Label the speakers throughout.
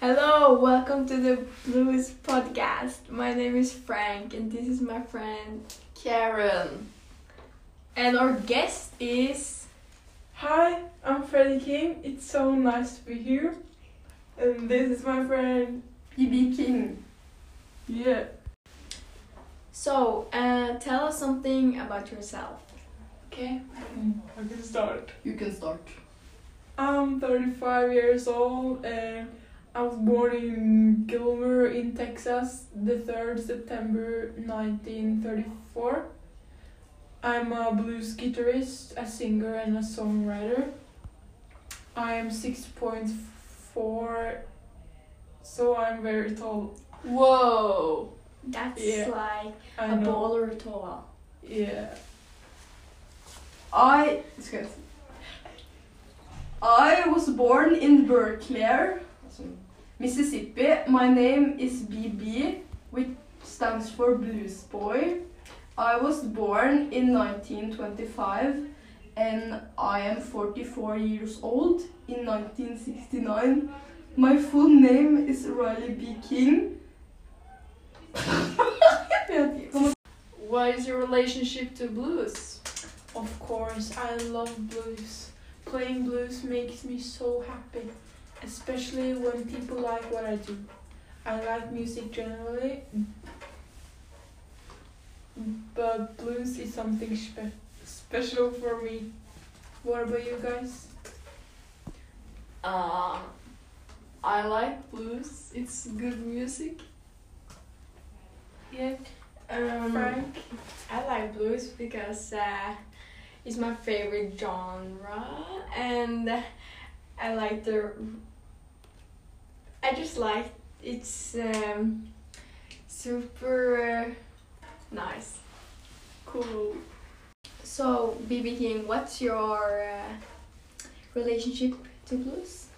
Speaker 1: Hello, welcome to the Blues Podcast. My name is Frank, and this is my friend Karen. And our guest is.
Speaker 2: Hi, I'm Freddie King. It's so nice to be here. And this is my friend.
Speaker 3: BB King.
Speaker 2: Yeah.
Speaker 1: So, uh, tell us something about yourself.
Speaker 2: Okay. I can start.
Speaker 3: You can start.
Speaker 2: I'm 35 years old and I was born in Gilmer in Texas the 3rd September 1934. I'm a blues guitarist, a singer and a songwriter. I am 6.4 so I'm very tall.
Speaker 3: Whoa!
Speaker 1: That's
Speaker 2: Yeah,
Speaker 1: like
Speaker 2: I
Speaker 1: a
Speaker 2: know.
Speaker 1: baller tall.
Speaker 2: Yeah.
Speaker 3: I. Excuse. I was born in Berkeley, Mississippi. My name is BB, which stands for Blues Boy. I was born in 1925 and I am 44 years old in 1969. My full name is Riley B. King.
Speaker 2: What is your relationship to blues? Of course, I love blues. Playing blues makes me so happy, especially when people like what I do. I like music generally, but blues is something spe- special for me. What about you guys?
Speaker 4: Uh, I like blues. It's good music.
Speaker 2: Yeah,
Speaker 1: Um,
Speaker 2: Frank.
Speaker 1: I like blues because uh, it's my favorite genre, and I like the. I just like it's um, super uh, nice.
Speaker 2: Cool.
Speaker 1: So, BB King, what's your uh, relationship to blues?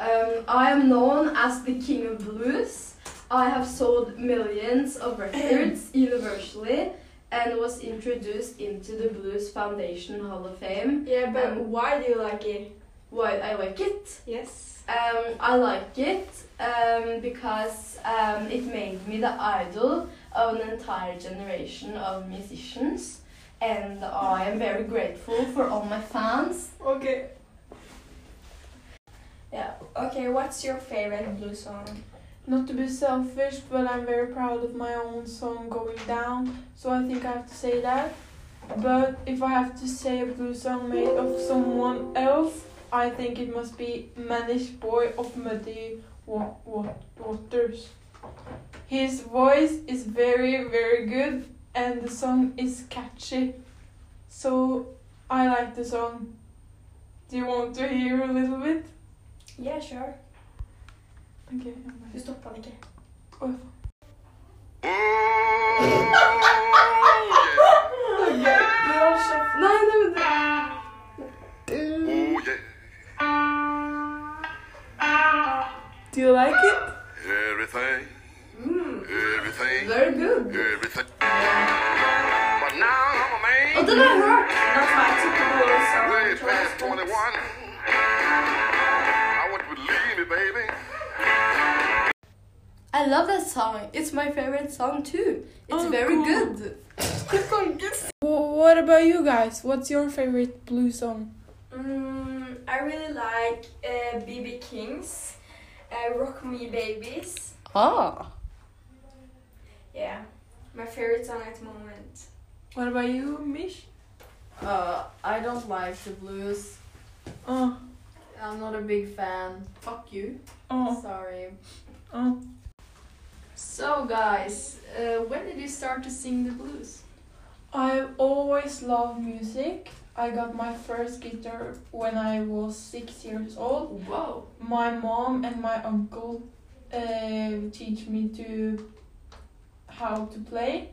Speaker 3: Um, I am known as the king of blues. I have sold millions of records universally and was introduced into the Blues Foundation Hall of Fame.
Speaker 1: Yeah, but
Speaker 3: but
Speaker 1: why do you like it?
Speaker 3: Why I like it?
Speaker 1: Yes.
Speaker 3: Um, I like it um, because um, it made me the idol of an entire generation of musicians. And I am very grateful for all my fans.
Speaker 2: Okay.
Speaker 1: Yeah. Okay, what's your favorite blues song?
Speaker 2: Not to be selfish, but I'm very proud of my own song going down, so I think I have to say that. But if I have to say a blues song made of someone else, I think it must be Manish Boy of Muddy Wa- Wa- Waters. His voice is very, very good, and the song is catchy. So I like the song. Do you want to hear a little bit?
Speaker 1: Yeah, sure.
Speaker 2: Okay. oh,
Speaker 1: Du stoppa den ikke.
Speaker 5: Oh,
Speaker 3: Nei, nei, nei.
Speaker 5: Oh yeah,
Speaker 2: Do you like it?
Speaker 5: everything, everything,
Speaker 3: Very good.
Speaker 5: everything. But now I'm a man.
Speaker 3: Og den har jeg hørt.
Speaker 5: way past 21. I would believe me, baby.
Speaker 3: I love that song. It's my favorite song too. It's
Speaker 2: Oh,
Speaker 3: very
Speaker 2: cool.
Speaker 3: good.
Speaker 2: Wh- What about you guys? What's your favorite blue song?
Speaker 1: Mm, I really like uh, BB King's uh, Rock Me Babies.
Speaker 4: Uh,
Speaker 3: Ah.
Speaker 1: Yeah, my favorite song at the moment.
Speaker 2: What about you, Mish?
Speaker 4: Uh, I don't like the blues.
Speaker 2: Oh,
Speaker 4: I'm not a big fan.
Speaker 3: Fuck you.
Speaker 2: oh,
Speaker 4: Sorry.
Speaker 2: oh.
Speaker 4: So, guys, uh, when did you start to sing the blues?
Speaker 2: I've always loved music. I got my first guitar when I was six years old.
Speaker 4: Whoa.
Speaker 2: My mom and my uncle uh, teach me to how to play.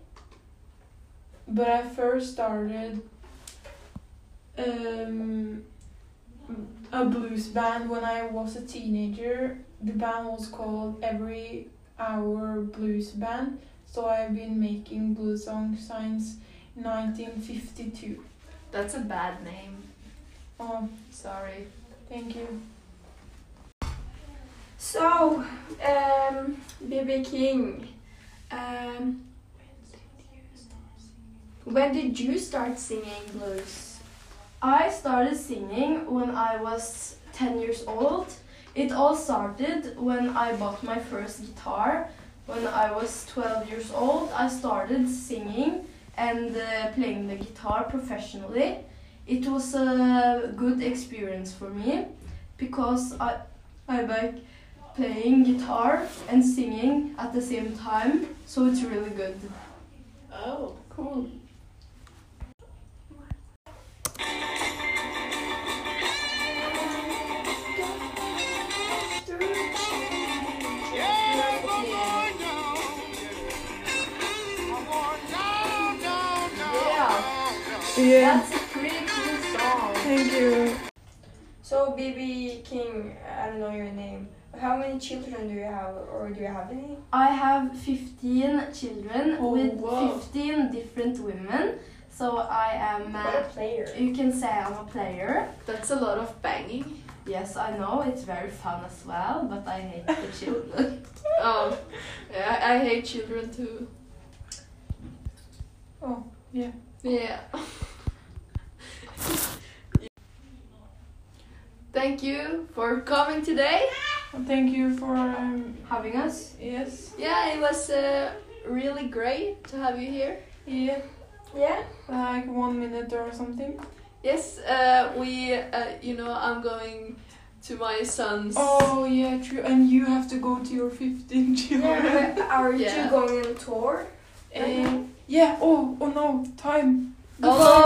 Speaker 2: But I first started um, a blues band when I was a teenager. The band was called Every Hour Blues Band. So I've been making blues songs since 1952.
Speaker 4: That's a bad name.
Speaker 2: Oh,
Speaker 4: Sorry.
Speaker 2: thank you.
Speaker 1: So, um, BB King, um, when did you start singing blues?
Speaker 3: I started singing when I was 10 years old. It all started when I bought my first guitar. When I was 12 years old, I started singing and uh, playing the guitar professionally. It was a good experience for me because I, I like playing guitar and singing at the same time, so it's really good.
Speaker 2: Oh, cool. Yeah.
Speaker 1: That's a pretty cool song.
Speaker 2: Thank you.
Speaker 1: So, BB King, I don't know your name. How many children do you have, or do you have any?
Speaker 3: I have 15 children
Speaker 2: Oh,
Speaker 3: with
Speaker 2: wow.
Speaker 3: 15 different women. So I am,
Speaker 1: What a
Speaker 3: uh,
Speaker 1: player.
Speaker 3: you can say I'm a player.
Speaker 4: That's a lot of banging.
Speaker 3: Yes, I know it's very fun as well, but I hate the children.
Speaker 4: Oh, yeah, I hate children too.
Speaker 2: Oh, yeah.
Speaker 4: Yeah. Thank you for coming today.
Speaker 2: Thank you for um,
Speaker 3: Having us?
Speaker 2: yes.
Speaker 4: Yeah, it was uh, really great to have you here.
Speaker 2: Yeah,
Speaker 1: Yeah?
Speaker 2: like one minute or something.
Speaker 4: Yes, uh, we, uh, you know, I'm going to my son's.
Speaker 2: Oh yeah, true. And you have to go to your 15 children.
Speaker 1: Yeah, but are you
Speaker 4: Yeah.
Speaker 1: two going on tour?
Speaker 2: Yeah. yeah. Oh, oh no, time.
Speaker 4: Oh.